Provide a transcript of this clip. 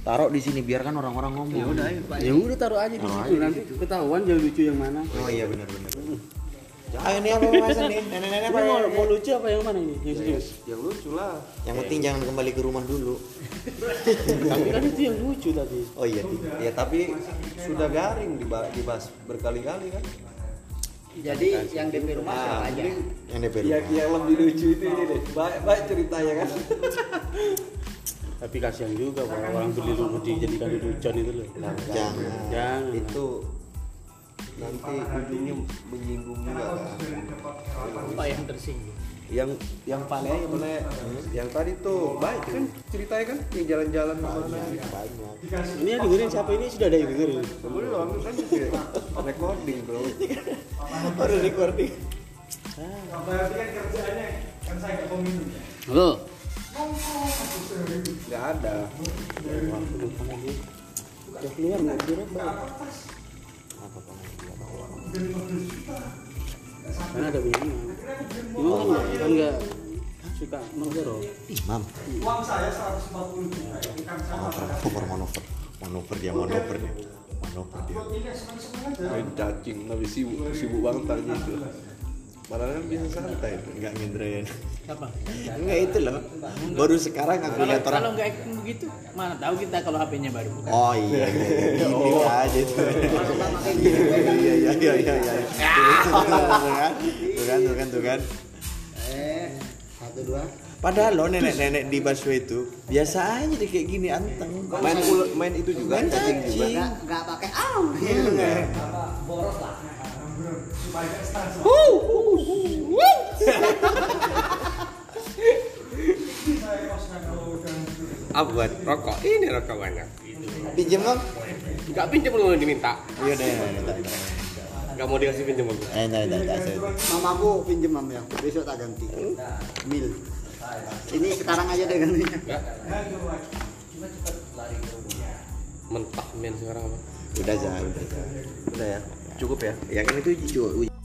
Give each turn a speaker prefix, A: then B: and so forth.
A: taruh di sini biarkan orang-orang ngomong
B: ya udah ayo, Pak.
C: ya udah taruh aja di
A: Taruh
C: situ
A: aja di
C: nanti ketahuan yang lucu yang mana
A: oh iya benar benar
B: Hmm.
A: ayo ini apa pembahasan nih nenek-nenek
C: ini
A: apa
C: mau,
A: ya?
C: mau lucu apa yang mana ini yang serius
B: yang lucu lah
A: yang penting jangan kembali ke rumah dulu
C: tapi kan itu yang lucu tadi
A: oh iya
B: ya tapi sudah garing diba- dibahas berkali-kali kan
D: Jadi yang DP rumah
B: Ah,
D: siapa aja?
A: yang DP
B: yang,
A: rumah
B: Iya, yang lebih lucu itu ini deh baik baik ceritanya kan
C: tapi kasihan juga orang orang beli rumah dijadikan lucuan itu loh
A: jangan
C: jangan
B: itu nanti ujungnya menyinggung juga kan
D: Apa yang tersinggung?
B: yang yang paling yang mana kan? yang tadi tuh baik kan ceritanya kan yang jalan-jalan kemana gitu.
A: banyak
C: ini yang dengerin siapa ini sudah ada yang dengerin
B: belum kan juga recording bro
A: baru recording
C: lo
B: nggak ada
C: udah keluar nggak kira bang karena Kan ada bingung bingung kan nggak kan nggak suka menggerok
A: Mam.
D: ya.
A: Uang saya 140 juta. Manuver, manuver, manuver dia, manuver dia, manuver dia.
B: main cacing tapi sibuk sibuk banget tadi itu malah kan bisa santai tuh.
A: Enggak ngindrain.
D: Siapa?
A: Enggak itu loh. Baru sekarang aku
D: Kalau
A: lihat orang.
D: kalau nggak acting begitu, mana tahu kita kalau HP-nya baru.
A: Oh iya, iya, iya. Ini
E: Oh.
A: aja itu. Iya iya iya iya iya. iya. Tuh kan, tuh kan, tuh kan, tuh kan.
D: Eh, satu dua.
A: Padahal lo nenek-nenek di busway itu biasa aja deh kayak gini anteng.
B: main ul- main itu juga
A: Main
B: cacing juga
A: cacing.
D: Nggak pakai Iya. au.
E: Iya,
F: Apa Ah, buat rokok? Ini rokok banyak.
A: Pinjem mam?
F: Gak pinjam lu diminta.
A: Iya deh. minta.
F: Gak mau dikasih pinjam aku.
A: Eh, entar, entar, entar, entar.
E: Mamaku pinjem mam ya, besok tak ganti. Mil. Ini sekarang aja deh gantinya.
F: Mentah men sekarang apa?
A: Udah aja, udah aja.
B: udah ya cukup ya
A: Ya kan itu uji- uji-